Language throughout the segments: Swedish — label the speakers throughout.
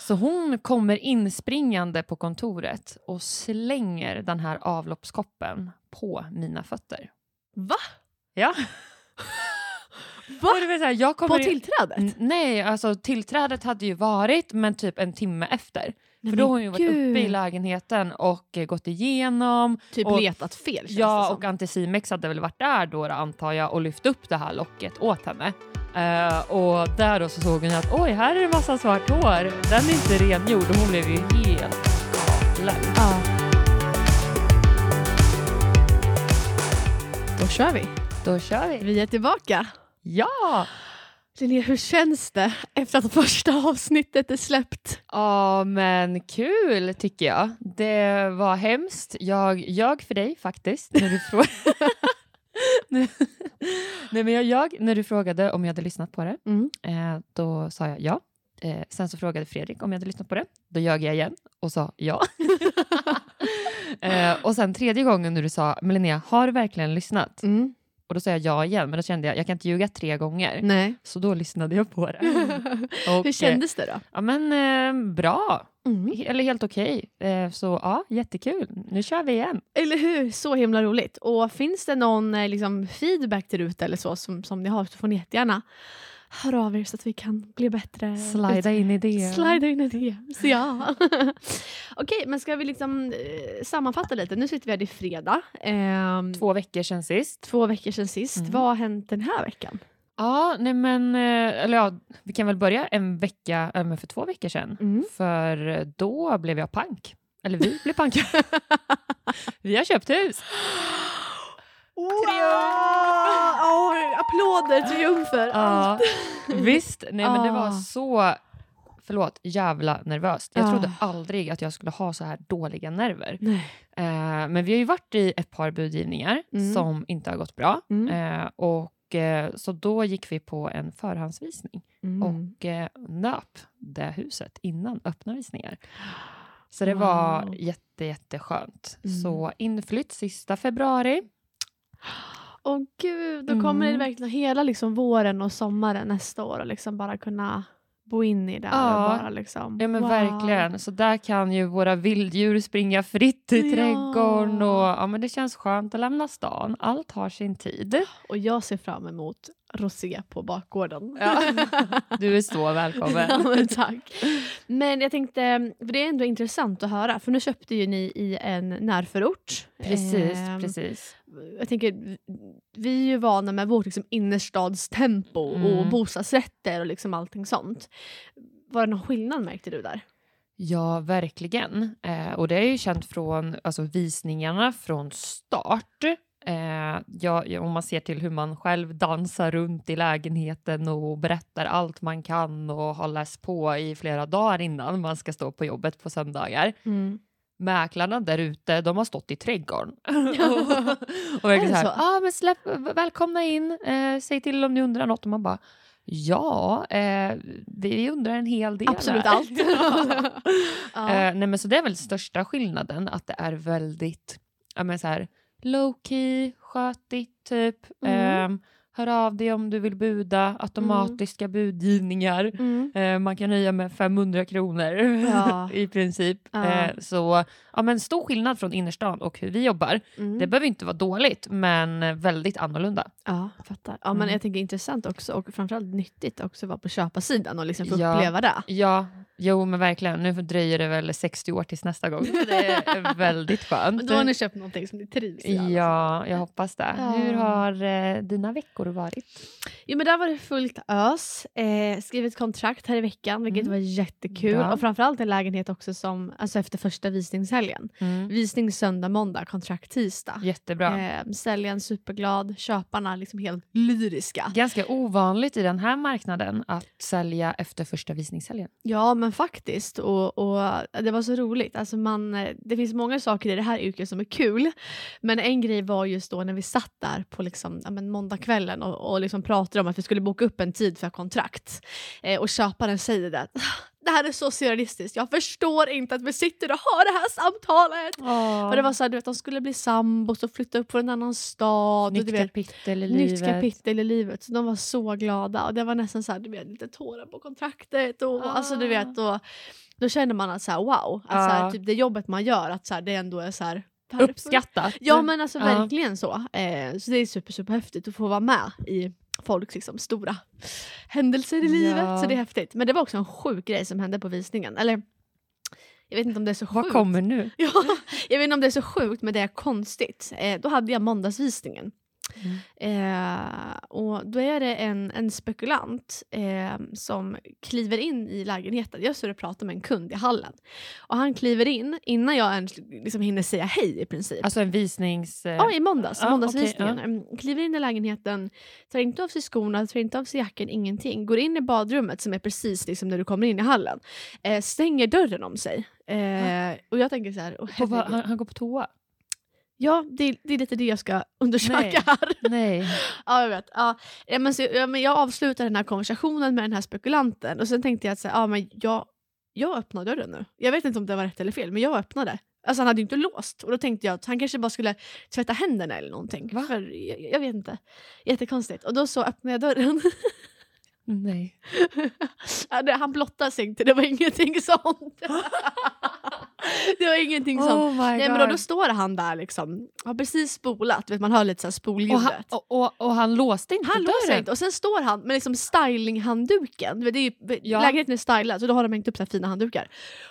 Speaker 1: Så hon kommer inspringande på kontoret och slänger den här avloppskoppen på mina fötter.
Speaker 2: Va?
Speaker 1: Ja.
Speaker 2: Va?
Speaker 1: Och det vill säga, jag kommer
Speaker 2: På
Speaker 1: in-
Speaker 2: tillträdet?
Speaker 1: N- Nej, alltså tillträdet hade ju varit men typ en timme efter.
Speaker 2: Nej,
Speaker 1: För då har
Speaker 2: men
Speaker 1: hon ju varit
Speaker 2: gud.
Speaker 1: uppe i lägenheten och eh, gått igenom.
Speaker 2: Typ
Speaker 1: och-
Speaker 2: letat fel känns det
Speaker 1: Ja,
Speaker 2: som.
Speaker 1: och Anticimex hade väl varit där då, då antar jag och lyft upp det här locket åt henne. Eh, och där då så såg hon att oj, här är det massa svart hår. Den är inte rengjord och hon blev ju helt galen.
Speaker 2: Ja. Då kör vi.
Speaker 1: Då kör vi.
Speaker 2: Vi är tillbaka.
Speaker 1: Ja!
Speaker 2: Linnea, hur känns det efter att första avsnittet är släppt?
Speaker 1: Ja men kul tycker jag. Det var hemskt. Jag ljög för dig faktiskt när du frågade. Nej men jag ljög när du frågade om jag hade lyssnat på det.
Speaker 2: Mm.
Speaker 1: Eh, då sa jag ja. Eh, sen så frågade Fredrik om jag hade lyssnat på det. Då ljög jag igen och sa ja. eh, och sen tredje gången när du sa, men Linnea, har du verkligen lyssnat? Och då sa jag ja igen, men då kände jag, jag kan inte ljuga tre gånger.
Speaker 2: Nej.
Speaker 1: Så då lyssnade jag på det. Och,
Speaker 2: Mm. hur kändes det då?
Speaker 1: eh, Ja men eh, bra.
Speaker 2: Mm.
Speaker 1: He- Eller helt okej. Eh, Så ja, jättekul. Nu kör vi igen.
Speaker 2: Eller hur? Så himla roligt. Och finns det någon eh, liksom, feedback där ute eller så som, som ni har så får ni jättegärna höra av er så att vi kan bli bättre.
Speaker 1: Slida in i det.
Speaker 2: Eh, Slida in i det. Så ja. Okej, men ska vi liksom eh, sammanfatta lite? Nu sitter vi här, det är fredag. Ehm,
Speaker 1: Två veckor sedan sist.
Speaker 2: två veckor sedan sist.
Speaker 1: Mm.
Speaker 2: Vad har hänt den här veckan?
Speaker 1: Ja, nej men, eh, eller ja, vi kan väl börja en vecka, eh, men för två veckor sedan.
Speaker 2: Mm.
Speaker 1: För eh, då blev jag pank. Eller vi blev panka. vi har köpt hus. Triumf!
Speaker 2: Oh, applåder, triumfer.
Speaker 1: Ja, visst. Nej men det var
Speaker 2: Ah.
Speaker 1: så, förlåt, jävla nervöst. Jag
Speaker 2: Ah.
Speaker 1: trodde aldrig att jag skulle ha så här dåliga nerver.
Speaker 2: Nej.
Speaker 1: Eh, men vi har ju varit i ett par budgivningar
Speaker 2: Mm.
Speaker 1: som inte har gått bra. Eh, och, eh, så då gick vi på en förhandsvisning
Speaker 2: Mm.
Speaker 1: och eh, nöp det huset innan öppna visningar. Så det
Speaker 2: Wow.
Speaker 1: var jätte, jätteskönt.
Speaker 2: Mm.
Speaker 1: Så inflytt sista februari.
Speaker 2: Åh gud, då kommer
Speaker 1: Mm.
Speaker 2: det verkligen hela liksom våren och sommaren nästa år och liksom bara kunna bo in i det.
Speaker 1: Ja.
Speaker 2: Och bara liksom,
Speaker 1: Ja men
Speaker 2: wow.
Speaker 1: verkligen. Så där kan ju våra vilddjur springa fritt i
Speaker 2: Ja.
Speaker 1: trädgården. Och, ja, men det känns skönt att lämna stan. Allt har sin tid.
Speaker 2: Och jag ser fram emot rosé på bakgården.
Speaker 1: Ja. Du är så välkommen.
Speaker 2: Ja, men tack. Men jag tänkte, för det är ändå intressant att höra, för nu köpte ju ni i en närförort.
Speaker 1: Precis,
Speaker 2: Ehm,
Speaker 1: precis.
Speaker 2: Jag tänker, vi är ju vana med vårt liksom, innerstadstempo och
Speaker 1: Mm.
Speaker 2: bostadsrätter och liksom allting sånt. Var det någon skillnad märkte du där?
Speaker 1: Ja, verkligen. Eh, och det är ju känt från alltså, visningarna från start. Eh, ja, ja, om man ser till hur man själv dansar runt i lägenheten och berättar allt man kan och har läst på i flera dagar innan man ska stå på jobbet på söndagar. Mäklarna där ute, de har stått i trädgården. och
Speaker 2: Är det
Speaker 1: verkligen så
Speaker 2: så?
Speaker 1: här, ah, men släpp, välkomna in, eh, säg till om ni undrar något. Och man bara, ja, eh, vi undrar en hel del.
Speaker 2: Absolut
Speaker 1: här."
Speaker 2: allt. ja.
Speaker 1: Eh, nej, men så det är väl största skillnaden, att det är väldigt ja, men så här, low key, skötigt typ.
Speaker 2: Mm.
Speaker 1: Ehm, hör av dig om du vill buda, automatiska budgivningar.
Speaker 2: mm.
Speaker 1: Eh, man kan nöja med 500 kronor
Speaker 2: Ja.
Speaker 1: i princip.
Speaker 2: Ja.
Speaker 1: Eh, så ja, men stor skillnad från innerstan och hur vi jobbar.
Speaker 2: Mm.
Speaker 1: Det behöver inte vara dåligt, men väldigt annorlunda.
Speaker 2: Ja, jag fattar. Ja, men
Speaker 1: Mm.
Speaker 2: jag tänker intressant också och framförallt nyttigt också att vara på köparsidan och liksom få
Speaker 1: Ja.
Speaker 2: uppleva det.
Speaker 1: Ja, jo men verkligen. Nu dröjer det väl 60 år tills nästa gång. Det är väldigt skönt.
Speaker 2: Men då har ni köpt någonting som ni trivs i. alltså. alla fall.
Speaker 1: Ja, jag hoppas det.
Speaker 2: Ja.
Speaker 1: Hur har eh, dina veckor varit?
Speaker 2: Jo, men där var det fullt ös. Eh, skrivit kontrakt här i veckan, vilket
Speaker 1: Mm.
Speaker 2: var jättekul.
Speaker 1: Ja.
Speaker 2: Och framförallt en lägenhet också som, alltså efter första visningshelgen. Visning söndag, måndag, kontrakt tisdag.
Speaker 1: Jättebra.
Speaker 2: Mm. Eh, säljaren superglad, köparna liksom helt lyriska.
Speaker 1: Ganska ovanligt i den här marknaden att sälja efter första visningshelgen.
Speaker 2: Ja men faktiskt. Och, och det var så roligt. Alltså man, eh, det finns många saker i det här yrket som är kul. Men en grej var just då när vi satt där på liksom, ja, men måndagskvällen och, och liksom pratade om att vi skulle boka upp en tid för kontrakt. Eh, och köparen säger det. att, Det här är så surrealistiskt. Jag förstår inte att vi sitter och har det här samtalet. Och det var så här, du vet, de skulle bli sambos och flytta upp från en annan stad. och du
Speaker 1: Nytt
Speaker 2: vet,
Speaker 1: kapitel i livet.
Speaker 2: nytt kapitel i livet. Så de var
Speaker 1: Ah.
Speaker 2: så glada och det var nästan så här, du vet, lite tårar på kontraktet och alltså du vet och Då känner man att så här, wow, att
Speaker 1: Ja.
Speaker 2: så här, typ det jobbet man gör, att så här, det ändå är så här, varför-
Speaker 1: Ah. Uppskattat. Ah.
Speaker 2: Ja men alltså
Speaker 1: Ja.
Speaker 2: verkligen så. Eh, så det är super, super häftigt att få vara med i folks liksom, stora händelser i
Speaker 1: Ja.
Speaker 2: livet. Så det är häftigt. Men det var också en sjuk grej som hände på visningen. Eller jag vet inte om det är så
Speaker 1: Vad
Speaker 2: sjukt.
Speaker 1: kommer nu?
Speaker 2: Ja, jag vet inte om det är så sjukt men det är konstigt. Eh, då hade jag måndagsvisningen.
Speaker 1: Mm.
Speaker 2: Eh, och då är det en, en spekulant eh, som kliver in i lägenheten. Jag står och pratar med en kund i hallen. Och han kliver in innan jag ens liksom, hinner säga hej i princip.
Speaker 1: Alltså en visnings... eh,
Speaker 2: Ja, i måndags.
Speaker 1: Ja,
Speaker 2: måndagsvisningen.
Speaker 1: okej,
Speaker 2: Mm, Kliver in i lägenheten, tar inte av sig skorna, tar inte av sig jackan, ingenting. Går in i badrummet som är precis liksom när du kommer in i hallen. Eh, stänger dörren om sig. Eh, Och jag tänker så här, åh,
Speaker 1: på, vad-
Speaker 2: herregud.
Speaker 1: han, han går på toa?
Speaker 2: ja det, det är lite det jag ska undersöka
Speaker 1: Nej.
Speaker 2: här.
Speaker 1: Nej.
Speaker 2: Ja, jag vet. Ja, eh, men så, ja, men jag avslutade den här konversationen med den här spekulanten och sen tänkte jag att så här, ja, men jag, jag öppnar dörren nu. Jag vet inte om det var rätt eller fel, men jag öppnade. Alltså han hade ju inte låst och då tänkte jag att han kanske bara skulle tvätta händerna eller någonting.
Speaker 1: Va?
Speaker 2: För, jag, jag vet inte. Jättekonstigt. Och då så öppnade jag dörren.
Speaker 1: Nej.
Speaker 2: Ja, det- han blottade sig inte, det var ingenting sånt. det var ingenting sånt.
Speaker 1: Oh my
Speaker 2: Nej,
Speaker 1: God.
Speaker 2: men då, då står han där liksom, har precis spolat, vet, man hör lite så här spolljudet.
Speaker 1: och, han, och, och, och han låste inte
Speaker 2: Han låser
Speaker 1: dörren?
Speaker 2: inte och sen står han med liksom stylinghandduken. Du vet, Det är ju,
Speaker 1: Ja.
Speaker 2: Lägenheten är stylad så då har de hängt upp så här fina handdukar.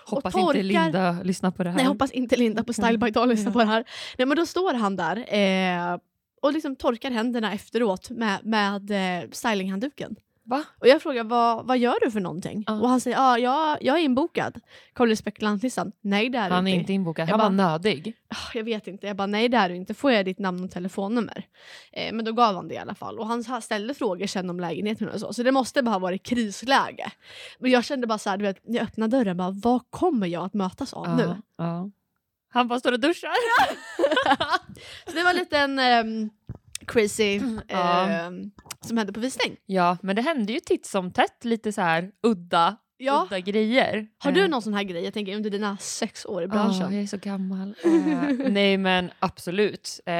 Speaker 1: Hoppas
Speaker 2: och torkar-
Speaker 1: inte Linda lyssnar på det här.
Speaker 2: Nej jag hoppas inte Linda på Style by Doll lyssnar
Speaker 1: Ja.
Speaker 2: på det här. Nej men då står han där eh, och liksom torkar händerna efteråt med, med eh, stylinghandduken.
Speaker 1: Va?
Speaker 2: Och jag frågar vad, vad gör du för någonting?
Speaker 1: Ja.
Speaker 2: Och han säger ah, ja, jag är inbokad. Kollar i spekulantlistan. Nej det är du
Speaker 1: Han är inte inbokad,
Speaker 2: Jag
Speaker 1: han var nödig.
Speaker 2: "Ah, jag vet inte. Jag bara, nej det är du inte. Får jag ditt namn och telefonnummer? Eh, men då gav han det i alla fall. Och han ställde frågor sen om lägenheten och så. Så det måste bara ha varit krisläge. Men jag kände bara så här, du vet, när jag öppnade dörren, bara, vad kommer jag att mötas av nu?
Speaker 1: Ja, ja. Han bara står och duschar.
Speaker 2: Så det var en liten ehm, crazy
Speaker 1: Ja.
Speaker 2: ehm, som hände på visning.
Speaker 1: Ja, men det hände ju titt som tätt lite så här udda,
Speaker 2: Ja.
Speaker 1: udda grejer.
Speaker 2: Har du
Speaker 1: Eh,
Speaker 2: någon sån här grej? Jag tänker under dina sex år i
Speaker 1: Ja,
Speaker 2: branschen.
Speaker 1: jag är så gammal. Eh, nej men absolut. Eh,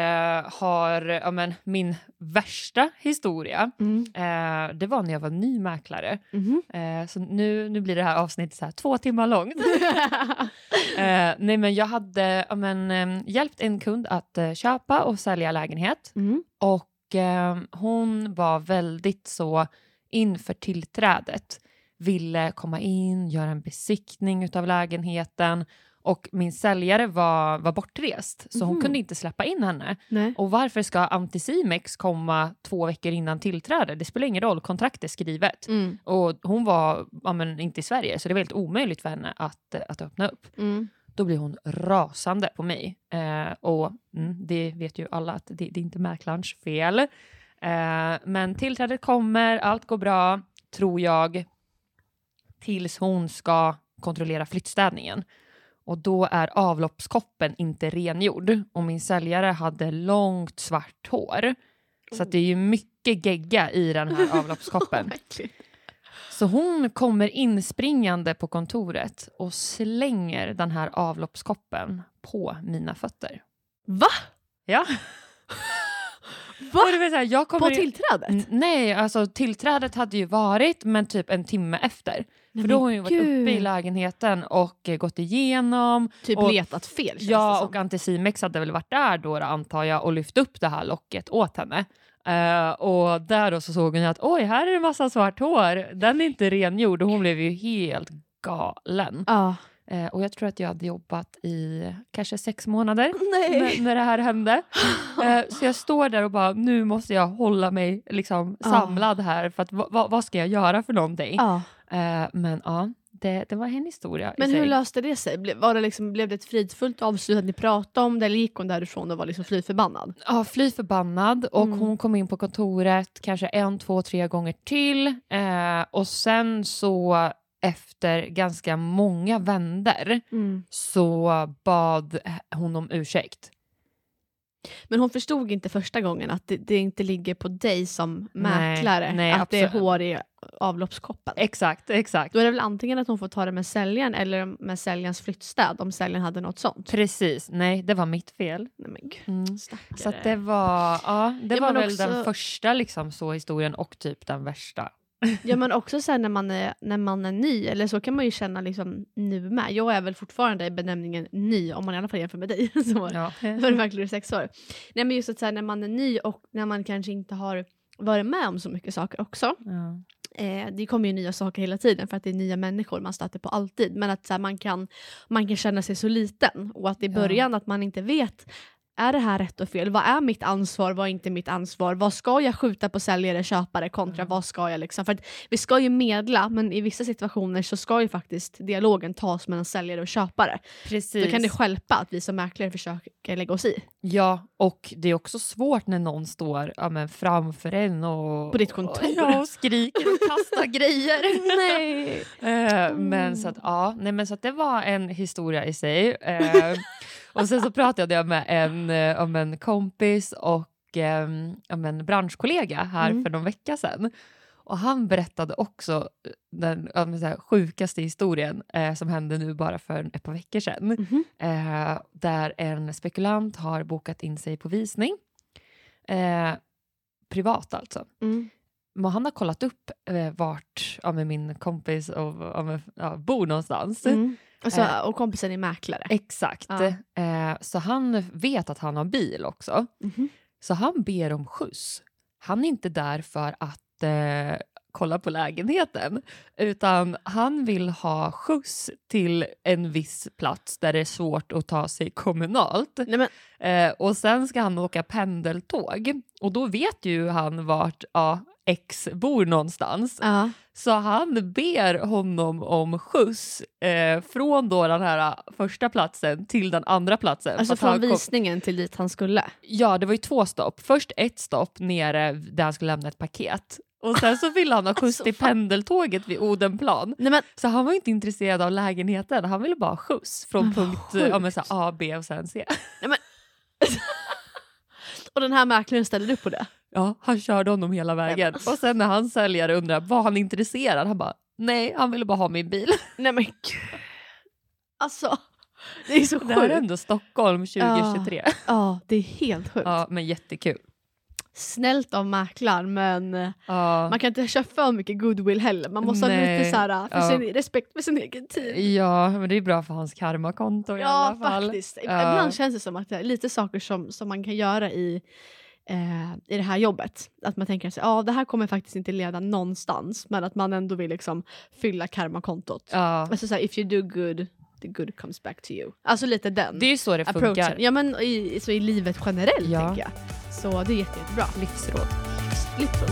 Speaker 1: har, ja, men, min värsta historia,
Speaker 2: Mm.
Speaker 1: eh, det var när jag var ny mäklare.
Speaker 2: Mhm.
Speaker 1: Eh, så nu, nu blir det här avsnittet så här, två timmar långt.
Speaker 2: Mm.
Speaker 1: Eh, nej men jag hade ja, men, eh, hjälpt en kund att eh, köpa och sälja lägenhet
Speaker 2: Mm.
Speaker 1: och eh, hon var väldigt så inför tillträdet ville komma in, göra en besiktning utav lägenheten och min säljare var, var bortrest så hon
Speaker 2: Mhm.
Speaker 1: kunde inte släppa in henne.
Speaker 2: Nej.
Speaker 1: Och varför ska Anticimex komma två veckor innan tillträde? Det spelar ingen roll, kontrakt är skrivet.
Speaker 2: Mm.
Speaker 1: Och hon var ja, men, inte i Sverige så det var helt omöjligt för henne att, eh, att öppna upp.
Speaker 2: Mm.
Speaker 1: Då blir hon rasande på mig. Eh, och mm, det vet ju alla att det, det är inte mäklarens fel. Eh, men tillträdet kommer, allt går bra, tror jag. Tills hon ska kontrollera flyttstädningen. Och då är avloppskoppen inte rengjord. Och min säljare hade långt svart hår. Så att det är ju mycket gegga i den här avloppskoppen.
Speaker 2: Vad äckligt.
Speaker 1: Så hon kommer inspringande på kontoret och slänger den här avloppskoppen på mina fötter.
Speaker 2: Va?
Speaker 1: Ja.
Speaker 2: Va?
Speaker 1: Och det vill säga, jag kommer
Speaker 2: På
Speaker 1: in-
Speaker 2: tillträdet?
Speaker 1: N- Nej, alltså tillträdet hade ju varit men typ en timme efter.
Speaker 2: Nej,
Speaker 1: För då har
Speaker 2: men
Speaker 1: hon ju varit
Speaker 2: gud.
Speaker 1: uppe i lägenheten och eh, gått igenom.
Speaker 2: Typ
Speaker 1: och-
Speaker 2: letat fel känns det
Speaker 1: Ja,
Speaker 2: som.
Speaker 1: och Anticimex hade väl varit där då, då antar jag och lyft upp det här locket åt henne. Eh, och där då så såg hon ju att oj, här är det massa svart hår. Den är inte rengjord och hon blev ju helt galen.
Speaker 2: Ja.
Speaker 1: Eh, och jag tror att jag hade jobbat i kanske sex månader
Speaker 2: Nej.
Speaker 1: när, när det här hände. Eh, så jag står där och bara, nu måste jag hålla mig liksom
Speaker 2: Ja.
Speaker 1: samlad här för att va, va, vad ska jag göra för någonting?
Speaker 2: Ja.
Speaker 1: Eh, men ja, det, det var en historia
Speaker 2: Men
Speaker 1: i sig.
Speaker 2: hur löste det sig? Ble- Var det liksom, blev det ett fridfullt avslut att ni pratade om det eller gick hon därifrån och var liksom fly förbannad?
Speaker 1: Ja, fly förbannad och
Speaker 2: Mm.
Speaker 1: hon kom in på kontoret kanske en, två, tre gånger till eh, och sen så efter ganska många vänder så bad hon om ursäkt.
Speaker 2: Men hon förstod inte första gången att det, det inte ligger på dig som
Speaker 1: Nej,
Speaker 2: mäklare
Speaker 1: nej,
Speaker 2: att det är
Speaker 1: absolut.
Speaker 2: hår i avloppskoppen.
Speaker 1: Exakt, exakt.
Speaker 2: Då är det väl antingen att hon får ta det med säljaren eller med säljarens flyttstäd om säljaren hade något sånt.
Speaker 1: Precis, nej det var mitt fel.
Speaker 2: Nej men gud. stackare.
Speaker 1: Så att det var, ja, det
Speaker 2: Mm. Ja,
Speaker 1: var
Speaker 2: men
Speaker 1: väl
Speaker 2: också-
Speaker 1: den första liksom, så historien och typ den värsta.
Speaker 2: Ja men också sen när man, är, när man är ny, eller så kan man ju känna liksom nu med. Jag är väl fortfarande i benämningen ny, om man i alla fall jämför med dig. Så.
Speaker 1: Ja.
Speaker 2: För verkligen sex år. Nej men just att så här, när man är ny och när man kanske inte har varit med om så mycket saker också.
Speaker 1: Ja.
Speaker 2: Eh, det kommer ju nya saker hela tiden för att det är nya människor man stöter på alltid. Men att så här, man, kan, man kan känna sig så liten och att i
Speaker 1: Ja.
Speaker 2: början att man inte vet är det här rätt och fel? Vad är mitt ansvar? Vad är inte mitt ansvar? Vad ska jag skjuta på säljare, köpare kontra
Speaker 1: Mm.
Speaker 2: vad ska jag liksom? För att vi ska ju medla men i vissa situationer så ska ju faktiskt dialogen tas mellan säljare och köpare.
Speaker 1: Precis.
Speaker 2: Då kan det stjälpa att vi som mäklare försöker lägga oss i.
Speaker 1: Ja, och det är också svårt när någon står ja, men framför en och,
Speaker 2: På ditt kontor.
Speaker 1: och, ja, och skriker och kastar grejer.
Speaker 2: Nej. Mm.
Speaker 1: Eh, men, så att, ja, nej, men så att det var en historia i sig. Eh, och sen så pratade jag med en, eh, om en kompis och eh, om en branschkollega här
Speaker 2: Mm.
Speaker 1: för någon vecka sedan. Och han berättade också den ja, men så här, sjukaste historien eh, som hände nu bara för ett par veckor sedan.
Speaker 2: Mhm.
Speaker 1: eh, där en spekulant har bokat in sig på visning. Eh, privat alltså.
Speaker 2: Mm.
Speaker 1: Men han har kollat upp eh, vart ja, men min kompis och, ja, men, ja, bor någonstans.
Speaker 2: Mm. Och, så,
Speaker 1: Eh.
Speaker 2: och kompisen är mäklare.
Speaker 1: Exakt.
Speaker 2: Ja.
Speaker 1: Eh, så han vet att han har bil också.
Speaker 2: Mhm.
Speaker 1: Så han ber om skjuts. Han är inte där för att eh, kolla på lägenheten utan han vill ha skjuts till en viss plats där det är svårt att ta sig kommunalt.
Speaker 2: Nej, men,
Speaker 1: Eh, och sen ska han åka pendeltåg och då vet ju han vart ja, X bor någonstans.
Speaker 2: ja.
Speaker 1: Så han ber honom om skjuts eh, från då den här eh, första platsen till den andra platsen. För
Speaker 2: Alltså
Speaker 1: att han
Speaker 2: från
Speaker 1: kom-
Speaker 2: visningen till dit han skulle.
Speaker 1: Ja, det var ju två stopp. Först ett stopp nere där han skulle lämna ett paket. Och sen så ville han ha skjuts
Speaker 2: Alltså,
Speaker 1: till
Speaker 2: fan.
Speaker 1: pendeltåget vid Odenplan.
Speaker 2: Nej, men,
Speaker 1: Så han var ju inte intresserad av lägenheten, han ville bara ha skjuts från
Speaker 2: Men vad
Speaker 1: punkt eh, ja, men så
Speaker 2: sjukt.
Speaker 1: här A, B och sen C.
Speaker 2: och den här mäklaren ställer upp på det.
Speaker 1: Ja, han körde honom hela vägen.
Speaker 2: alltså.
Speaker 1: Och sen när han säljare undrar var han intresserad, han bara nej, han ville bara ha min bil.
Speaker 2: Nej men gud. Alltså, det är så
Speaker 1: Det här är
Speaker 2: sjukt.
Speaker 1: ändå Stockholm 2023. Ja,
Speaker 2: Ja, det är helt sjukt.
Speaker 1: men jättekul.
Speaker 2: Snällt av mäklaren men eh,
Speaker 1: Ja.
Speaker 2: man kan inte köra för mycket goodwill heller. Man måste ha lite
Speaker 1: Nej.
Speaker 2: så här, eh, för
Speaker 1: Ja.
Speaker 2: sin, respekt för sin egen tid.
Speaker 1: ja, men det är bra för hans karmakonto i
Speaker 2: Ja
Speaker 1: alla fall.
Speaker 2: faktiskt. Ib-
Speaker 1: Ja.
Speaker 2: Ibland känns det som att det är lite saker som, som man kan göra i, eh, i det här jobbet. Att man tänker sig ja det här kommer faktiskt inte leda någonstans men att man ändå vill liksom fylla karmakontot.
Speaker 1: Ja.
Speaker 2: Alltså såhär, if you do good, the good comes back to you. Alltså lite den
Speaker 1: Det är ju så det
Speaker 2: approachen.
Speaker 1: funkar.
Speaker 2: Ja men i, så i livet generellt
Speaker 1: Ja.
Speaker 2: tänker jag. Så det är jätte, jättebra.
Speaker 1: Livsråd.
Speaker 2: Lite så.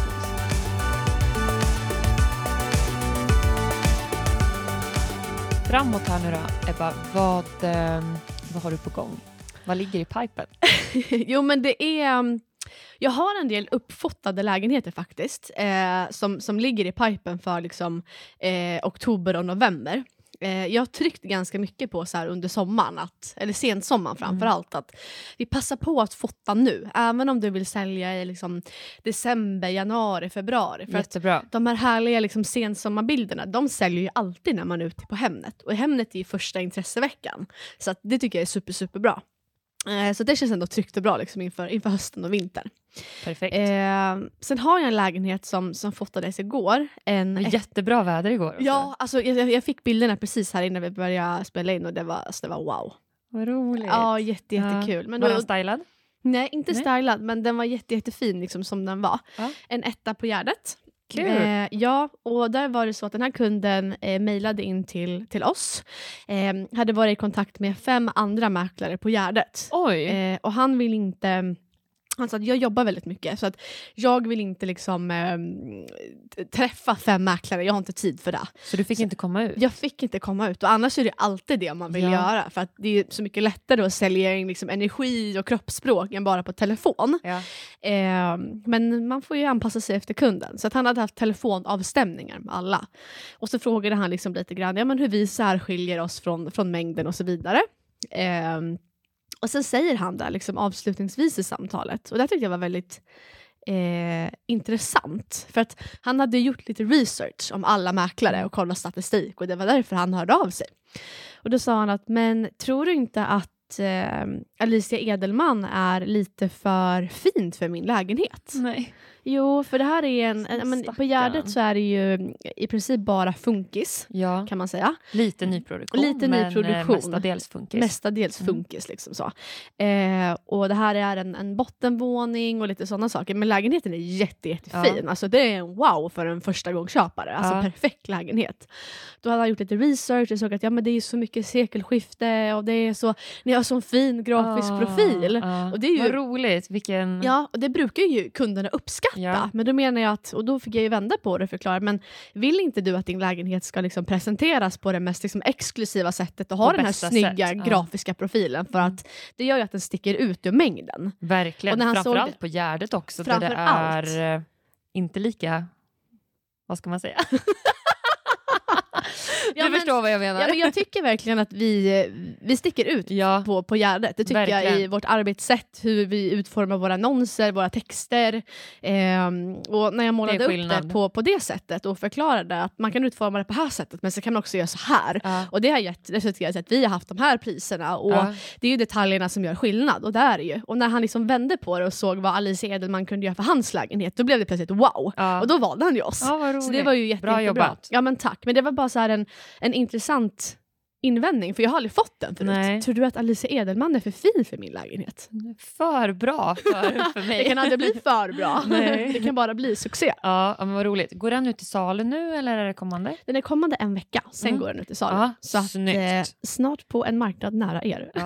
Speaker 1: Framåt här nu då, Ebba. Vad, eh, vad har du på gång? Vad ligger i pipen?
Speaker 2: jo men det är... um, Jag har en del uppfotade lägenheter faktiskt eh, som, som ligger i pipen för liksom, eh, oktober och november. Eh, jag har tryckt ganska mycket på så här under sommaren, att, eller sensommaren framför
Speaker 1: Mm.
Speaker 2: allt, att vi passar på att fota nu. Även om du vill sälja i liksom, december, januari, februari. För att
Speaker 1: Jättebra.
Speaker 2: de här härliga liksom, sensommarbilderna, de säljer ju alltid när man är ute på Hemnet. Och Hemnet är ju första intresseveckan. Så att det tycker jag är super, superbra. Eh, så det känns ändå tryggt och bra liksom, inför, inför hösten och vintern.
Speaker 1: Perfekt.
Speaker 2: Eh, sen har jag en lägenhet som, som fotades igår. En,
Speaker 1: Men Jättebra väder igår. också.
Speaker 2: ja, alltså, jag, jag fick bilderna precis här innan vi började spela in och det var, alltså, det var wow.
Speaker 1: Vad roligt.
Speaker 2: Ja, jätte,
Speaker 1: Ja.
Speaker 2: jättekul. Men
Speaker 1: Var
Speaker 2: då-
Speaker 1: den stylad?
Speaker 2: Nej, inte
Speaker 1: Nej.
Speaker 2: stylad, men den var jätte, jättefin liksom, som den var.
Speaker 1: Ja.
Speaker 2: En etta på Gärdet.
Speaker 1: Kul.
Speaker 2: Eh, ja, och där var det så att den här kunden eh, mejlade in till, till oss. Eh, hade varit i kontakt med fem andra mäklare på Gärdet.
Speaker 1: Oj.
Speaker 2: Eh, och han vill inte... Han sa att jag jobbar väldigt mycket så att jag vill inte liksom eh, t- träffa fem mäklare, jag har inte tid för det.
Speaker 1: så du fick inte komma ut?
Speaker 2: Jag fick inte komma ut och annars är det alltid det man vill
Speaker 1: Ja.
Speaker 2: göra för att det är så mycket lättare att sälja in liksom energi och kroppsspråk än bara på telefon.
Speaker 1: Ja.
Speaker 2: Eh, men man får ju anpassa sig efter kunden. Så att han hade haft telefonavstämningar med alla. Och så frågade han liksom lite grann ja, men hur vi särskiljer oss från, från mängden och så vidare. Eh, och sen säger han där liksom avslutningsvis i samtalet, och det här tyckte jag var väldigt eh, intressant. För att han hade gjort lite research om alla mäklare och kollat statistik och det var därför han hörde av sig. Och då sa han att, men tror du inte att eh, Alicia Edelman är lite för fint för min lägenhet.
Speaker 1: Nej.
Speaker 2: Jo, för det här är en... en men på
Speaker 1: Stackarn.
Speaker 2: Gärdet så är det ju i princip bara funkis,
Speaker 1: Ja,
Speaker 2: kan man säga.
Speaker 1: lite nyproduktion,
Speaker 2: Lite
Speaker 1: men eh,
Speaker 2: nyproduktion.
Speaker 1: mestadels funkis.
Speaker 2: Mestadels
Speaker 1: Mm.
Speaker 2: funkis. Liksom så. Eh, och det här är en, en bottenvåning och lite sådana saker. Men lägenheten är jätte, jättefin. Alltså, det är en wow för en förstagångsköpare. Alltså
Speaker 1: Ja.
Speaker 2: perfekt lägenhet. Då hade han gjort lite research och såg att ja, men det är så mycket sekelskifte och det är så, ni har sån fin grafisk
Speaker 1: Ah,
Speaker 2: profil.
Speaker 1: ah.
Speaker 2: Och det är ju-
Speaker 1: Vad roligt, vilken...
Speaker 2: Ja, och det brukar ju kunderna uppskatta.
Speaker 1: Mm. Ja.
Speaker 2: Men då menar jag att, och då fick jag ju vända på det och förklara, men vill inte du att din lägenhet ska liksom presenteras på det mest liksom exklusiva sättet och ha
Speaker 1: På
Speaker 2: den här
Speaker 1: bästa
Speaker 2: snygga
Speaker 1: sätt, ja. Mm.
Speaker 2: grafiska profilen? För att det gör ju att den sticker ut ur mängden.
Speaker 1: Verkligen,
Speaker 2: Och när han såg
Speaker 1: framförallt
Speaker 2: det-
Speaker 1: på Gärdet också där det
Speaker 2: Framför allt.
Speaker 1: är eh, inte lika... Vad ska man säga?
Speaker 2: Ja,
Speaker 1: du
Speaker 2: men-
Speaker 1: förstår vad jag
Speaker 2: Ja,
Speaker 1: menar.
Speaker 2: men jag tycker verkligen att vi, vi sticker ut
Speaker 1: Ja,
Speaker 2: på, på Gärdet. Det tycker jag i
Speaker 1: Verkligen.
Speaker 2: vårt arbetssätt, hur vi utformar våra annonser, våra texter. Ehm, och när jag målade upp det
Speaker 1: skillnad.
Speaker 2: på, på det sättet och förklarade att man kan utforma det på det här sättet men så kan man också göra så här.
Speaker 1: ja.
Speaker 2: Och det har gett resulterat i att vi har haft de här priserna och
Speaker 1: ja.
Speaker 2: det är ju detaljerna som gör skillnad och det är det ju. Och när han liksom vände på det och såg vad Alicia Edelman kunde göra för hans lägenhet då blev det plötsligt wow!
Speaker 1: ja.
Speaker 2: Och då valde han ju oss.
Speaker 1: ja, vad roligt.
Speaker 2: så det var ju jätte,
Speaker 1: Bra
Speaker 2: jättebra.
Speaker 1: jobbat.
Speaker 2: Ja men tack. Men det var bara så här en, en intressant invändning för jag har aldrig fått den förut.
Speaker 1: Nej.
Speaker 2: Tror du att Alicia Edelman är för fin för min lägenhet?
Speaker 1: För bra för, för mig.
Speaker 2: Det kan aldrig bli för bra.
Speaker 1: Nej.
Speaker 2: det kan bara bli succé.
Speaker 1: Ja, ja, men vad roligt. Går den ut i salen nu eller är det kommande?
Speaker 2: Den är kommande en vecka, sen
Speaker 1: Mm.
Speaker 2: går den ut i salen.
Speaker 1: Ja,
Speaker 2: så att,
Speaker 1: snyggt.
Speaker 2: eh, snart på en marknad nära er.
Speaker 1: Ja,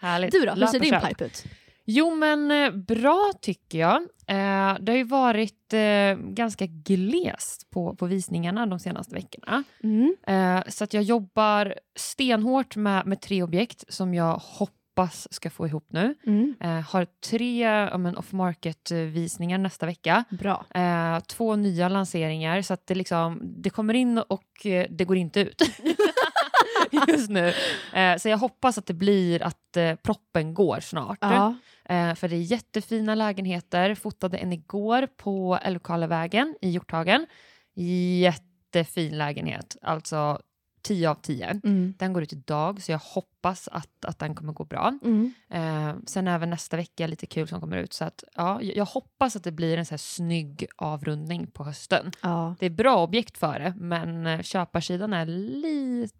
Speaker 1: härligt.
Speaker 2: Du då, hur
Speaker 1: Löp
Speaker 2: ser
Speaker 1: och
Speaker 2: din
Speaker 1: köp.
Speaker 2: pipe ut?
Speaker 1: Jo, men eh, bra tycker jag. Eh, det har ju varit eh, ganska glest på, på visningarna de senaste veckorna.
Speaker 2: Mm.
Speaker 1: Eh, så att jag jobbar stenhårt med, med tre objekt som jag hoppas ska få ihop nu.
Speaker 2: Mm.
Speaker 1: Eh, har tre ja, men off-market-visningar nästa vecka.
Speaker 2: Bra.
Speaker 1: Eh, två nya lanseringar, så att det, liksom, det kommer in och eh, det går inte ut. Just nu. Eh, så jag hoppas att det blir att eh, proppen går snart.
Speaker 2: Ja.
Speaker 1: Eh, för det är jättefina lägenheter. Fotade en igår på Älvkarlevägen i Hjorthagen. Jättefin lägenhet, alltså 10 av 10.
Speaker 2: Mm.
Speaker 1: Den går ut idag, så jag hoppas att, att den kommer gå bra.
Speaker 2: Mm.
Speaker 1: Eh, sen även nästa vecka lite kul som kommer ut. Så att, ja, jag jag hoppas att det blir en så här snygg avrundning på hösten.
Speaker 2: Ja.
Speaker 1: Det är bra objekt för det, men eh, köparsidan är lite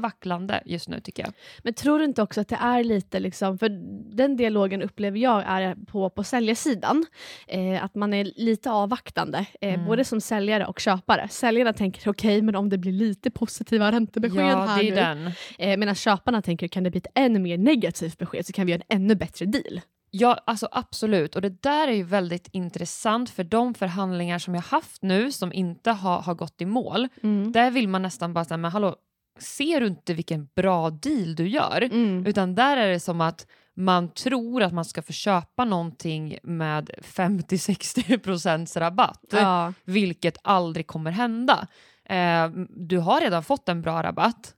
Speaker 1: vacklande just nu tycker jag.
Speaker 2: Men tror du inte också att det är lite, liksom, för den dialogen upplever jag är på, på säljarsidan, eh, att man är lite avvaktande, eh,
Speaker 1: Mm.
Speaker 2: både som säljare och köpare. Säljarna tänker okej, men om det blir lite positiva räntebesked
Speaker 1: ja,
Speaker 2: här
Speaker 1: det är
Speaker 2: nu.
Speaker 1: den.
Speaker 2: Eh, Medan köparna tänker kan det bli ett ännu mer negativt besked så kan vi göra en ännu bättre deal.
Speaker 1: Ja, alltså absolut. Och det där är ju väldigt intressant för de förhandlingar som jag haft nu som inte har, har gått i mål, där vill man nästan bara säga, men hallå, ser du inte vilken bra deal du gör?
Speaker 2: Mm.
Speaker 1: Utan där är det som att man tror att man ska få köpa någonting med 50-60 procents rabatt,
Speaker 2: Ja.
Speaker 1: vilket aldrig kommer hända. Eh, du har redan fått en bra rabatt,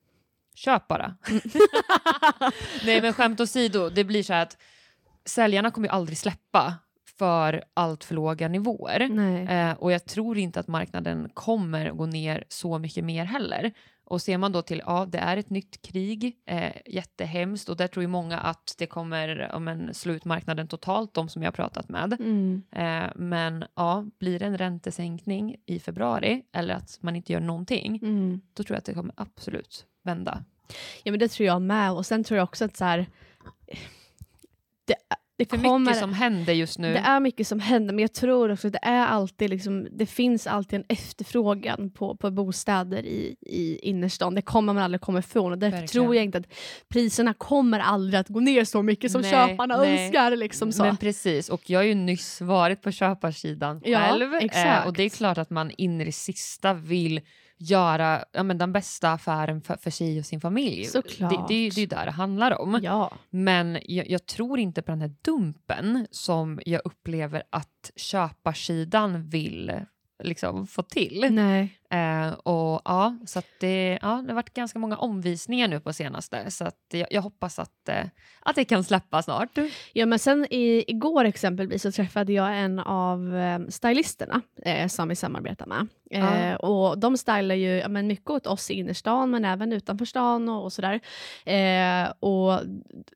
Speaker 1: köp bara. Nej men skämt åsido, det blir så här att säljarna kommer ju aldrig släppa för allt för låga nivåer.
Speaker 2: Nej.
Speaker 1: Eh, och jag tror inte att marknaden kommer gå ner så mycket mer heller. Och ser man då till, ja det är ett nytt krig, eh, jättehemskt och där tror ju många att det kommer ja, men, slå ut marknaden totalt, de som jag har pratat med.
Speaker 2: Mm.
Speaker 1: Eh, men ja, blir det en räntesänkning i februari eller att man inte gör någonting,
Speaker 2: Mm.
Speaker 1: då tror jag att det kommer absolut vända.
Speaker 2: Ja men det tror jag med och sen tror jag också att så här, det, det
Speaker 1: För
Speaker 2: kommer...
Speaker 1: mycket som händer just nu.
Speaker 2: Det är mycket som händer, men jag tror också att det, är alltid liksom, det finns alltid en efterfrågan på, på bostäder i, i innerstan. Det kommer man aldrig komma ifrån. Och därför
Speaker 1: Verkligen.
Speaker 2: tror jag inte att priserna kommer aldrig att gå ner så mycket som
Speaker 1: Nej,
Speaker 2: köparna
Speaker 1: nej.
Speaker 2: önskar. Liksom så.
Speaker 1: Men precis, och jag har ju nyss varit på köparsidan
Speaker 2: Ja,
Speaker 1: själv. eh,
Speaker 2: exakt.
Speaker 1: Och det är klart att man in i det sista vill göra ja, men den bästa affären för, för sig och sin familj.
Speaker 2: Såklart.
Speaker 1: Det, det, är ju- det är ju där det handlar om.
Speaker 2: ja.
Speaker 1: Men jag, jag tror inte på den här dumpen som jag upplever att köparsidan vill liksom, få till.
Speaker 2: Nej.
Speaker 1: Eh, och ja, så att det, ja, det har varit ganska många omvisningar nu på senaste så att jag, jag hoppas att, eh, att det kan släppa snart.
Speaker 2: Ja, men sen i, igår exempelvis så träffade jag en av eh, stylisterna eh, som vi samarbetar med. Eh,
Speaker 1: Ja.
Speaker 2: Och de stylar ju ja, men mycket åt oss i innerstan men även utanför stan och, och sådär. Eh, och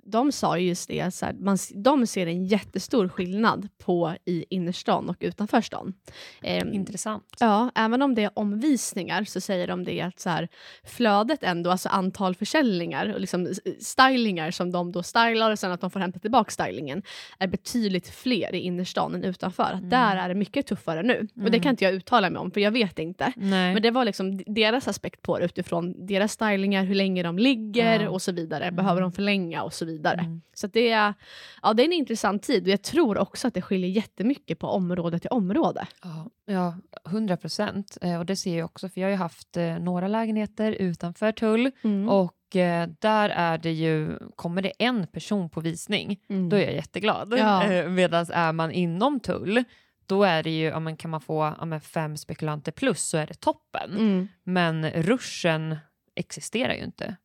Speaker 2: de sa ju just det, så här, man, s- de ser en jättestor skillnad på i innerstan och utanför stan. Eh,
Speaker 1: Intressant.
Speaker 2: Ja, även om det är omvisningar så säger de det att så här, flödet ändå, alltså antal försäljningar och liksom s- stylingar som de då stylar och sen att de får hämta tillbaka stylingen är betydligt fler i innerstan än utanför. Att
Speaker 1: Mm.
Speaker 2: Där är det mycket tuffare nu. Och det
Speaker 1: Mm.
Speaker 2: kan inte jag uttala mig om för jag vet inte.
Speaker 1: Nej.
Speaker 2: Men det var liksom d- deras aspekt på det utifrån deras stylingar, hur länge de ligger
Speaker 1: Ja.
Speaker 2: och så vidare.
Speaker 1: Mm.
Speaker 2: Behöver de förlänga och så vidare.
Speaker 1: Mm.
Speaker 2: Så att det, är, ja, det är en intressant tid och jag tror också att det skiljer jättemycket på område till område.
Speaker 1: Ja, ja, 100 procent. Eh, Och det ser jag också, för jag har ju haft eh, några lägenheter utanför tull
Speaker 2: Mm.
Speaker 1: och eh, där är det ju, kommer det en person på visning,
Speaker 2: Mm.
Speaker 1: då är jag jätteglad.
Speaker 2: Ja.
Speaker 1: Medan är man inom tull, då är det ju, ja, men kan man få ja, men fem spekulanter plus så är det toppen.
Speaker 2: Mm.
Speaker 1: Men ruschen existerar ju inte.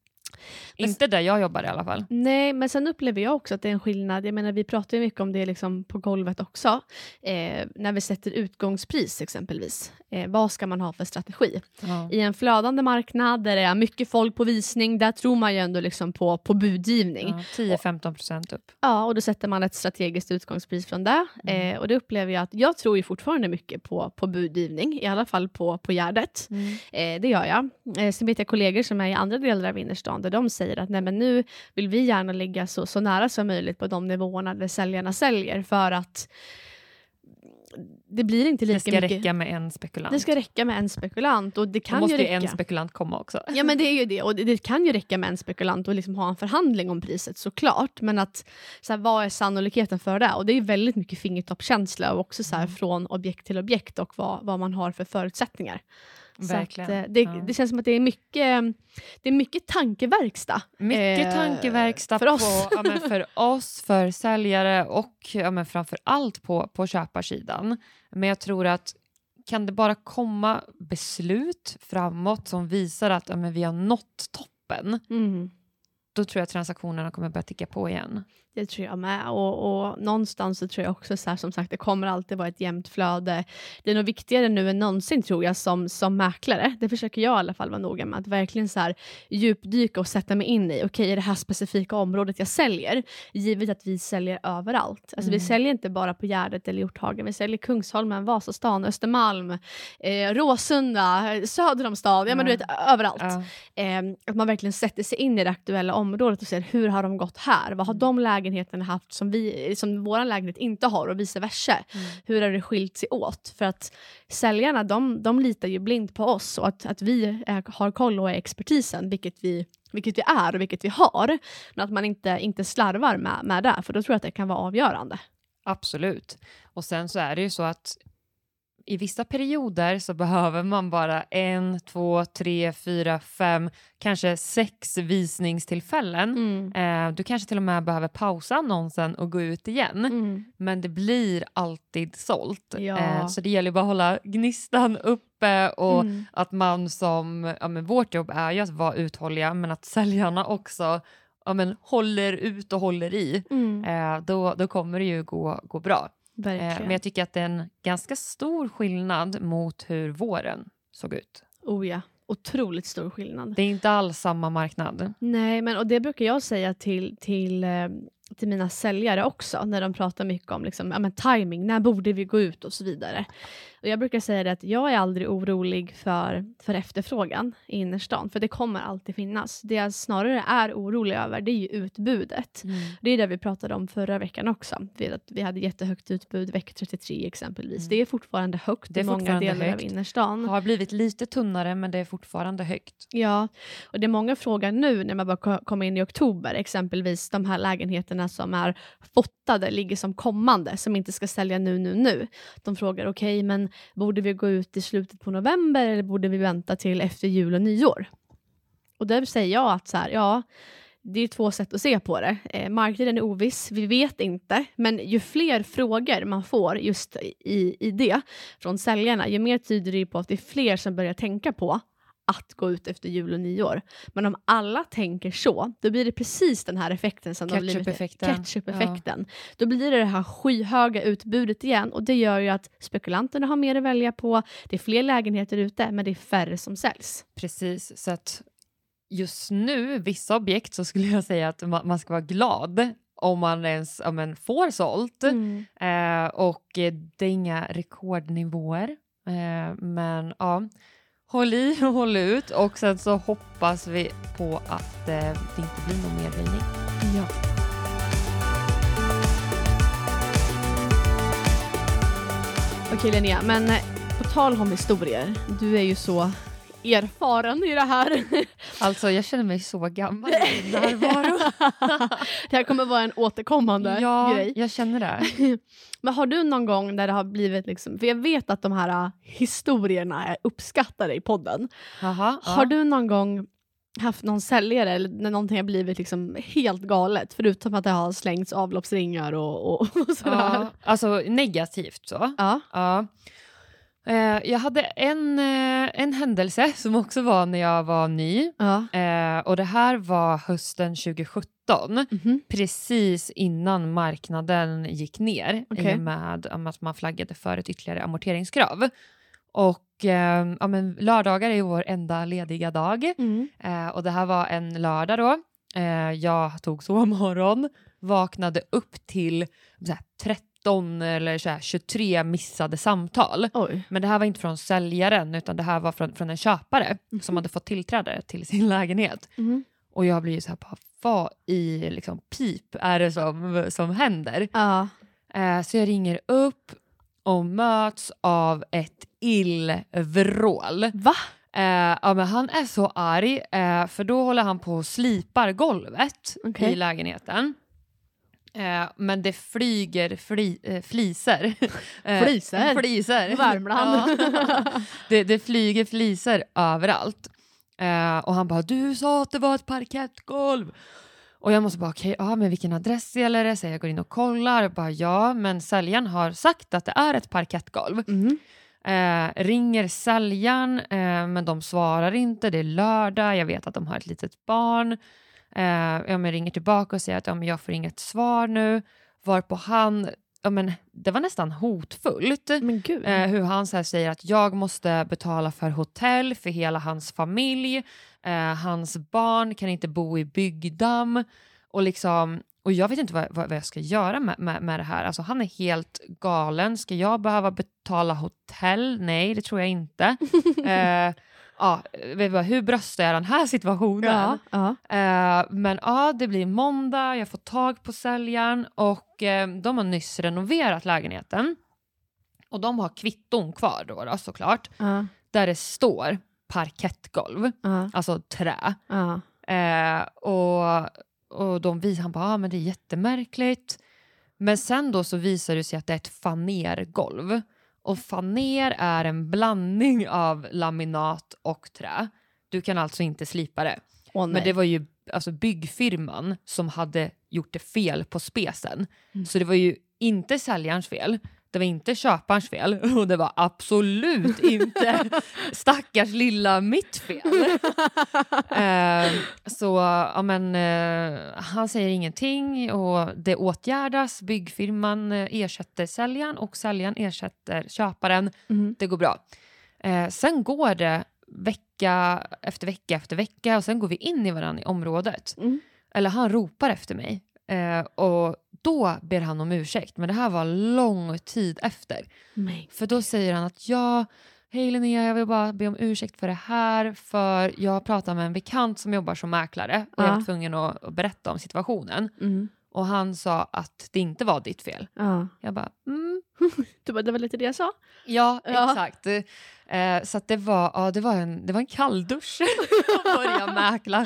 Speaker 2: Men-
Speaker 1: Inte där jag jobbar i alla fall.
Speaker 2: Nej, men sen upplever jag också att det är en skillnad. Jag menar, vi pratar ju mycket om det liksom på golvet också. Eh, när vi sätter utgångspris exempelvis. Eh, vad ska man ha för strategi?
Speaker 1: Ja.
Speaker 2: I en flödande marknad där det är mycket folk på visning, där tror man ju ändå liksom på, på budgivning. Ja.
Speaker 1: Ja, 10-15 procent upp.
Speaker 2: och då sätter man ett strategiskt utgångspris från det.
Speaker 1: Mm.
Speaker 2: Eh, och det upplever jag att jag tror ju fortfarande mycket på, på budgivning, i alla fall på, på Gärdet. Eh, det gör jag. Eh, sen vet jag kollegor som är i andra delar av innerstan där de säger att Nej, men nu vill vi gärna ligga så, så nära som möjligt på de nivåerna där säljarna säljer för att det blir inte lika
Speaker 1: Det ska
Speaker 2: mycket.
Speaker 1: räcka med en spekulant.
Speaker 2: Det ska räcka med en spekulant och det
Speaker 1: Då
Speaker 2: kan
Speaker 1: måste
Speaker 2: ju
Speaker 1: ju
Speaker 2: räcka.
Speaker 1: en spekulant komma också.
Speaker 2: Ja men det är ju det och det, det kan ju räcka med en spekulant och liksom ha en förhandling om priset såklart men att så här, vad är sannolikheten för det och det är ju väldigt mycket fingertoppskänsla och också så här,
Speaker 1: Mm.
Speaker 2: från objekt till objekt och vad, vad man har för förutsättningar. Så
Speaker 1: Verkligen.
Speaker 2: Att, eh, det,
Speaker 1: Ja.
Speaker 2: det känns som att det är mycket, det är mycket tankeverkstad.
Speaker 1: Mycket
Speaker 2: Eh,
Speaker 1: tankeverkstad
Speaker 2: för oss.
Speaker 1: På, ja, men för oss, för säljare och ja, men framför allt på, på köparsidan. Men jag tror att kan det bara komma beslut framåt som visar att ja, men vi har nått toppen,
Speaker 2: Mm.
Speaker 1: då tror jag att transaktionerna kommer börja ticka på igen.
Speaker 2: Det tror jag med. Och, och någonstans så tror jag också så här, som sagt, det kommer alltid vara ett jämnt flöde. Det är nog viktigare nu än någonsin tror jag som, som mäklare. Det försöker jag i alla fall vara noga med. Att verkligen så här, djupdyka och sätta mig in i, okej är det här specifika området jag säljer? Givet att vi säljer överallt. Alltså vi
Speaker 1: Mm.
Speaker 2: säljer inte bara på Gärdet eller Hjorthagen. Vi säljer Kungsholmen, Vasastan, Östermalm, eh, Råsunda, eh, söder om stan. Ja men du
Speaker 1: Ja.
Speaker 2: vet överallt.
Speaker 1: Ja.
Speaker 2: Eh, att man verkligen sätter sig in i det aktuella området och ser hur har de gått här? Vad har
Speaker 1: Mm.
Speaker 2: de lägenheterna haft som, vi, som vår lägenhet inte har och vice versa? Hur har det skilt sig åt? För att säljarna de, de litar ju blint på oss och att, att vi är, har koll och är expertisen, vilket vi, vilket vi är och vilket vi har. Men att man inte, inte slarvar med, med det, för då tror jag att det kan vara avgörande.
Speaker 1: Absolut. Och sen så är det ju så att i vissa perioder så behöver man bara en, två, tre, fyra, fem, kanske sex visningstillfällen Eh, Du kanske till och med behöver pausa annonsen och gå ut igen.
Speaker 2: Mm.
Speaker 1: Men det blir alltid sålt.
Speaker 2: Ja.
Speaker 1: Eh, Så det gäller bara att hålla gnistan uppe och
Speaker 2: Mm.
Speaker 1: att man som, ja men vårt jobb är ju att vara uthålliga men att säljarna också ja men håller ut och håller i.
Speaker 2: Mm.
Speaker 1: Eh, Då, då kommer det ju gå, gå bra. Eh,
Speaker 2: Verkligen.
Speaker 1: Men jag tycker att det är en ganska stor skillnad mot hur våren såg ut.
Speaker 2: Oh ja, otroligt stor skillnad.
Speaker 1: Det är inte alls samma marknad.
Speaker 2: Nej, men och det brukar jag säga till, till, eh, till mina säljare också, när de pratar mycket om liksom, ja, men timing, när borde vi gå ut och så vidare. Och jag brukar säga det att jag är aldrig orolig för, för efterfrågan i innerstan, för det kommer alltid finnas. Det jag snarare är orolig över, det är ju utbudet. Det är det vi pratade om förra veckan också. Vi, att vi hade jättehögt utbud, vecka 33 exempelvis.
Speaker 1: Mm.
Speaker 2: Det är fortfarande högt
Speaker 1: Det är
Speaker 2: i många
Speaker 1: fortfarande
Speaker 2: delar
Speaker 1: högt.
Speaker 2: av innerstan.
Speaker 1: Har blivit lite tunnare men det är fortfarande högt.
Speaker 2: Ja, och det är många frågar nu när man bara ko- kommer in i oktober, exempelvis de här lägenheterna som är fotade, ligger som kommande, som inte ska sälja nu, nu, nu. De frågar, okej, men borde vi gå ut i slutet på november eller borde vi vänta till efter jul och nyår? Och där säger jag att så här, ja, det är ju två sätt att se på det. Eh, marknaden är oviss, vi vet inte. Men ju fler frågor man får just i, i det från säljarna, ju mer tyder det ju på att det är fler som börjar tänka på att gå ut efter jul och nyår. Men om alla tänker så, då blir det precis den här effekten som det har blivit-
Speaker 1: Ketchup-effekten.
Speaker 2: Ketchup-effekten. Då blir det det här skyhöga utbudet igen och det gör ju att spekulanterna har mer att välja på. Det är fler lägenheter ute, men det är färre som säljs.
Speaker 1: Precis, så att just nu, vissa objekt, så skulle jag säga att ma- man ska vara glad om man ens ja, men, får sålt.
Speaker 2: Mm.
Speaker 1: Eh, och eh, det är inga rekordnivåer. Eh, men ja, håll i och håll ut och sen så hoppas vi på att eh, det inte blir någon mer höjning.
Speaker 2: Ja. Okej Linnea, men eh, på tal om historier, du är ju så erfaren i det här.
Speaker 1: Alltså jag känner mig så gammal i min närvaro.
Speaker 2: det här kommer vara en återkommande
Speaker 1: Ja,
Speaker 2: grej.
Speaker 1: jag känner det.
Speaker 2: Men har du någon gång där det har blivit, liksom, för jag vet att de här eh, historierna är uppskattade i podden.
Speaker 1: Aha, ja.
Speaker 2: Har du någon gång haft någon säljare eller när någonting har blivit liksom helt galet förutom att det har slängts avloppsringar och, och, och sådär?
Speaker 1: ja, Alltså negativt så.
Speaker 2: Ja.
Speaker 1: Ja. Eh, jag hade en, eh, en händelse som också var när jag var ny.
Speaker 2: Ja.
Speaker 1: Eh, och det här var hösten 2017,
Speaker 2: Mhm.
Speaker 1: precis innan marknaden gick ner i
Speaker 2: Okej.
Speaker 1: och med om att man flaggade för ett ytterligare amorteringskrav. Och eh, ja, men lördagar är ju vår enda lediga dag.
Speaker 2: Mm.
Speaker 1: Eh, och det här var en lördag då. Eh, jag tog sovmorgon, vaknade upp till så här, 13 eller så här, 23 missade samtal.
Speaker 2: Oj.
Speaker 1: Men det här var inte från säljaren utan det här var från, från en köpare som
Speaker 2: Mhm.
Speaker 1: hade fått tillträde till sin lägenhet.
Speaker 2: Mhm.
Speaker 1: Och jag blir ju så här, bara, vad i liksom, pip är det som, som händer?
Speaker 2: Ja.
Speaker 1: Eh, så jag ringer upp och möts av ett illvrål.
Speaker 2: Va?
Speaker 1: Eh, ja, men han är så arg eh, för då håller han på och slipar golvet
Speaker 2: Okej.
Speaker 1: i lägenheten. Eh, men det flyger fli, eh, fliser. Eh,
Speaker 2: Fliser?
Speaker 1: fliser.
Speaker 2: Värmland.
Speaker 1: Ja. det, det flyger fliser överallt. Eh, och han bara “du sa att det var ett parkettgolv”. Och jag måste bara okej, ja men vilken adress gäller det? Så jag går in och kollar och bara ja men säljaren har sagt att det är ett parkettgolv.
Speaker 2: Mhm.
Speaker 1: Eh, ringer säljaren, eh, men de svarar inte. Det är lördag, jag vet att de har ett litet barn. Eh, ja, men ringer tillbaka och säger att ja, men jag får inget svar nu. Varpå han, ja, men, det var nästan hotfullt.
Speaker 2: Men gud.
Speaker 1: Eh, hur han så här säger att jag måste betala för hotell för hela hans familj. Eh, hans barn kan inte bo i byggdamm. Och, liksom, och jag vet inte vad, vad, vad jag ska göra med, med, med det här. Alltså, han är helt galen. Ska jag behöva betala hotell? Nej, det tror jag inte. eh, ja, vi bara, hur bröstar jag den här situationen?
Speaker 2: ja. Ja.
Speaker 1: Eh, men ja, det blir måndag, jag får tag på säljaren och eh, de har nyss renoverat lägenheten. Och de har kvitton kvar då, då såklart,
Speaker 2: Ja.
Speaker 1: där det står parkettgolv,
Speaker 2: Ja.
Speaker 1: alltså trä.
Speaker 2: Ja.
Speaker 1: Eh, och, och de visar, han bara, ah, men det är jättemärkligt. Men sen då så visar det sig att det är ett fanergolv. Och faner är en blandning av laminat och trä. Du kan alltså inte slipa det.
Speaker 2: Åh,
Speaker 1: Men
Speaker 2: nej.
Speaker 1: det var ju alltså, byggfirman som hade gjort det fel på spesen.
Speaker 2: Mm.
Speaker 1: Så det var ju inte säljarens fel, det var inte köparens fel och det var absolut inte stackars lilla mitt fel. Ehm, så ja, men, eh, han säger ingenting och det åtgärdas. Byggfirman eh, ersätter säljaren och säljaren ersätter köparen
Speaker 2: Mhm.
Speaker 1: det går bra. Eh, sen går det vecka efter vecka efter vecka och sen går vi in i varandra i området.
Speaker 2: Mm.
Speaker 1: Eller han ropar efter mig eh, och då ber han om ursäkt. Men det här var lång tid efter.
Speaker 2: Nej.
Speaker 1: För då säger han att ja, hej Linnea, jag vill bara be om ursäkt för det här för jag pratade med en bekant som jobbar som mäklare och jag
Speaker 2: Ja.
Speaker 1: var tvungen att, att berätta om situationen.
Speaker 2: Mm.
Speaker 1: Och han sa att det inte var ditt fel.
Speaker 2: Ja.
Speaker 1: Jag bara, mm,
Speaker 2: Du bara, det var lite det jag sa.
Speaker 1: Ja,
Speaker 2: Ja.
Speaker 1: exakt. Eh, så att det, var, ja, det, var en, det var en kalldusch att börja mäkla.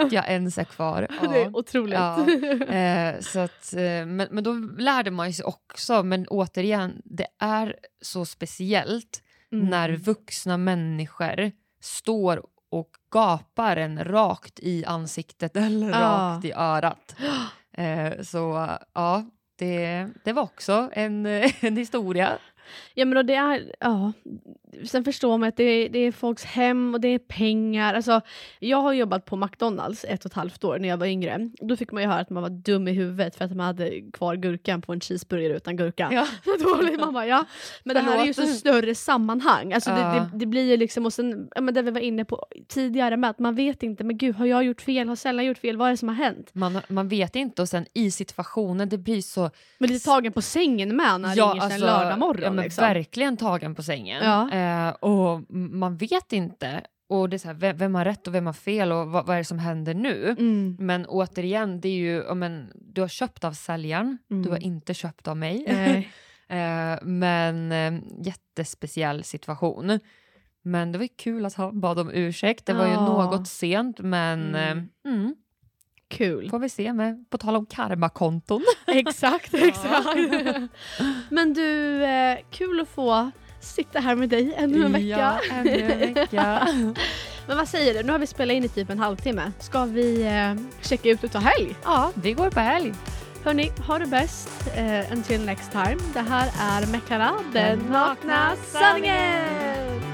Speaker 1: Att jag ens är kvar.
Speaker 2: Det
Speaker 1: Ja.
Speaker 2: är otroligt.
Speaker 1: Ja. Eh, så att, eh, men, men då lärde man ju sig också, men återigen, det är så speciellt
Speaker 2: Mm.
Speaker 1: när vuxna människor står och gapar en rakt i ansiktet eller
Speaker 2: Ja.
Speaker 1: rakt i örat. Eh, så ja, det, det var också en, en historia.
Speaker 2: Ja men och det är, ja. Sen förstår man att det är, det är folks hem och det är pengar. Alltså, jag har jobbat på McDonalds ett och ett halvt år när jag var yngre. Då fick man ju höra att man var dum i huvudet för att man hade kvar gurkan på en cheeseburgare utan gurka.
Speaker 1: Ja.
Speaker 2: Då blir mamma, ja. Men det här är ju så
Speaker 1: Förlåt.
Speaker 2: större sammanhang. Alltså, det,
Speaker 1: Ja.
Speaker 2: det, det blir ju liksom, och sen, ja, men det vi var inne på tidigare med att man vet inte, men gud har jag gjort fel? Har sällan gjort fel? Vad är det som har hänt?
Speaker 1: Man, man vet inte och sen i situationen, det blir så... alltså,
Speaker 2: Men lite tagen på sängen med när det ringer sig en lördag morgon.
Speaker 1: ja, men
Speaker 2: liksom.
Speaker 1: Verkligen tagen på sängen.
Speaker 2: Ja.
Speaker 1: Eh, och m- man vet inte. Och det är så här, vem, vem har rätt och vem har fel och vad, vad är det som händer nu?
Speaker 2: mm.
Speaker 1: Men återigen, det är ju, ja, men, du har köpt av säljaren, du har
Speaker 2: Mm.
Speaker 1: inte köpt av mig.
Speaker 2: Nej.
Speaker 1: Eh, men eh, jättespeciell situation. Men det var ju kul att han bad om ursäkt. Det var ju
Speaker 2: Ja.
Speaker 1: något sent, men
Speaker 2: Mm.
Speaker 1: eh, mm,
Speaker 2: Kul.
Speaker 1: får vi se. Med, på tal om karmakonton.
Speaker 2: Exakt, exakt. Men du, eh, kul att få sitta här med dig ännu en vecka.
Speaker 1: Ja, ännu en vecka.
Speaker 2: Men vad säger du, nu har vi spelat in i typ en halvtimme. Ska vi eh, checka ut och ta helg?
Speaker 1: ja, vi går på helg.
Speaker 2: Hörni, ha det bäst eh, until next time. Det här är Mekara, den nakna sanningen!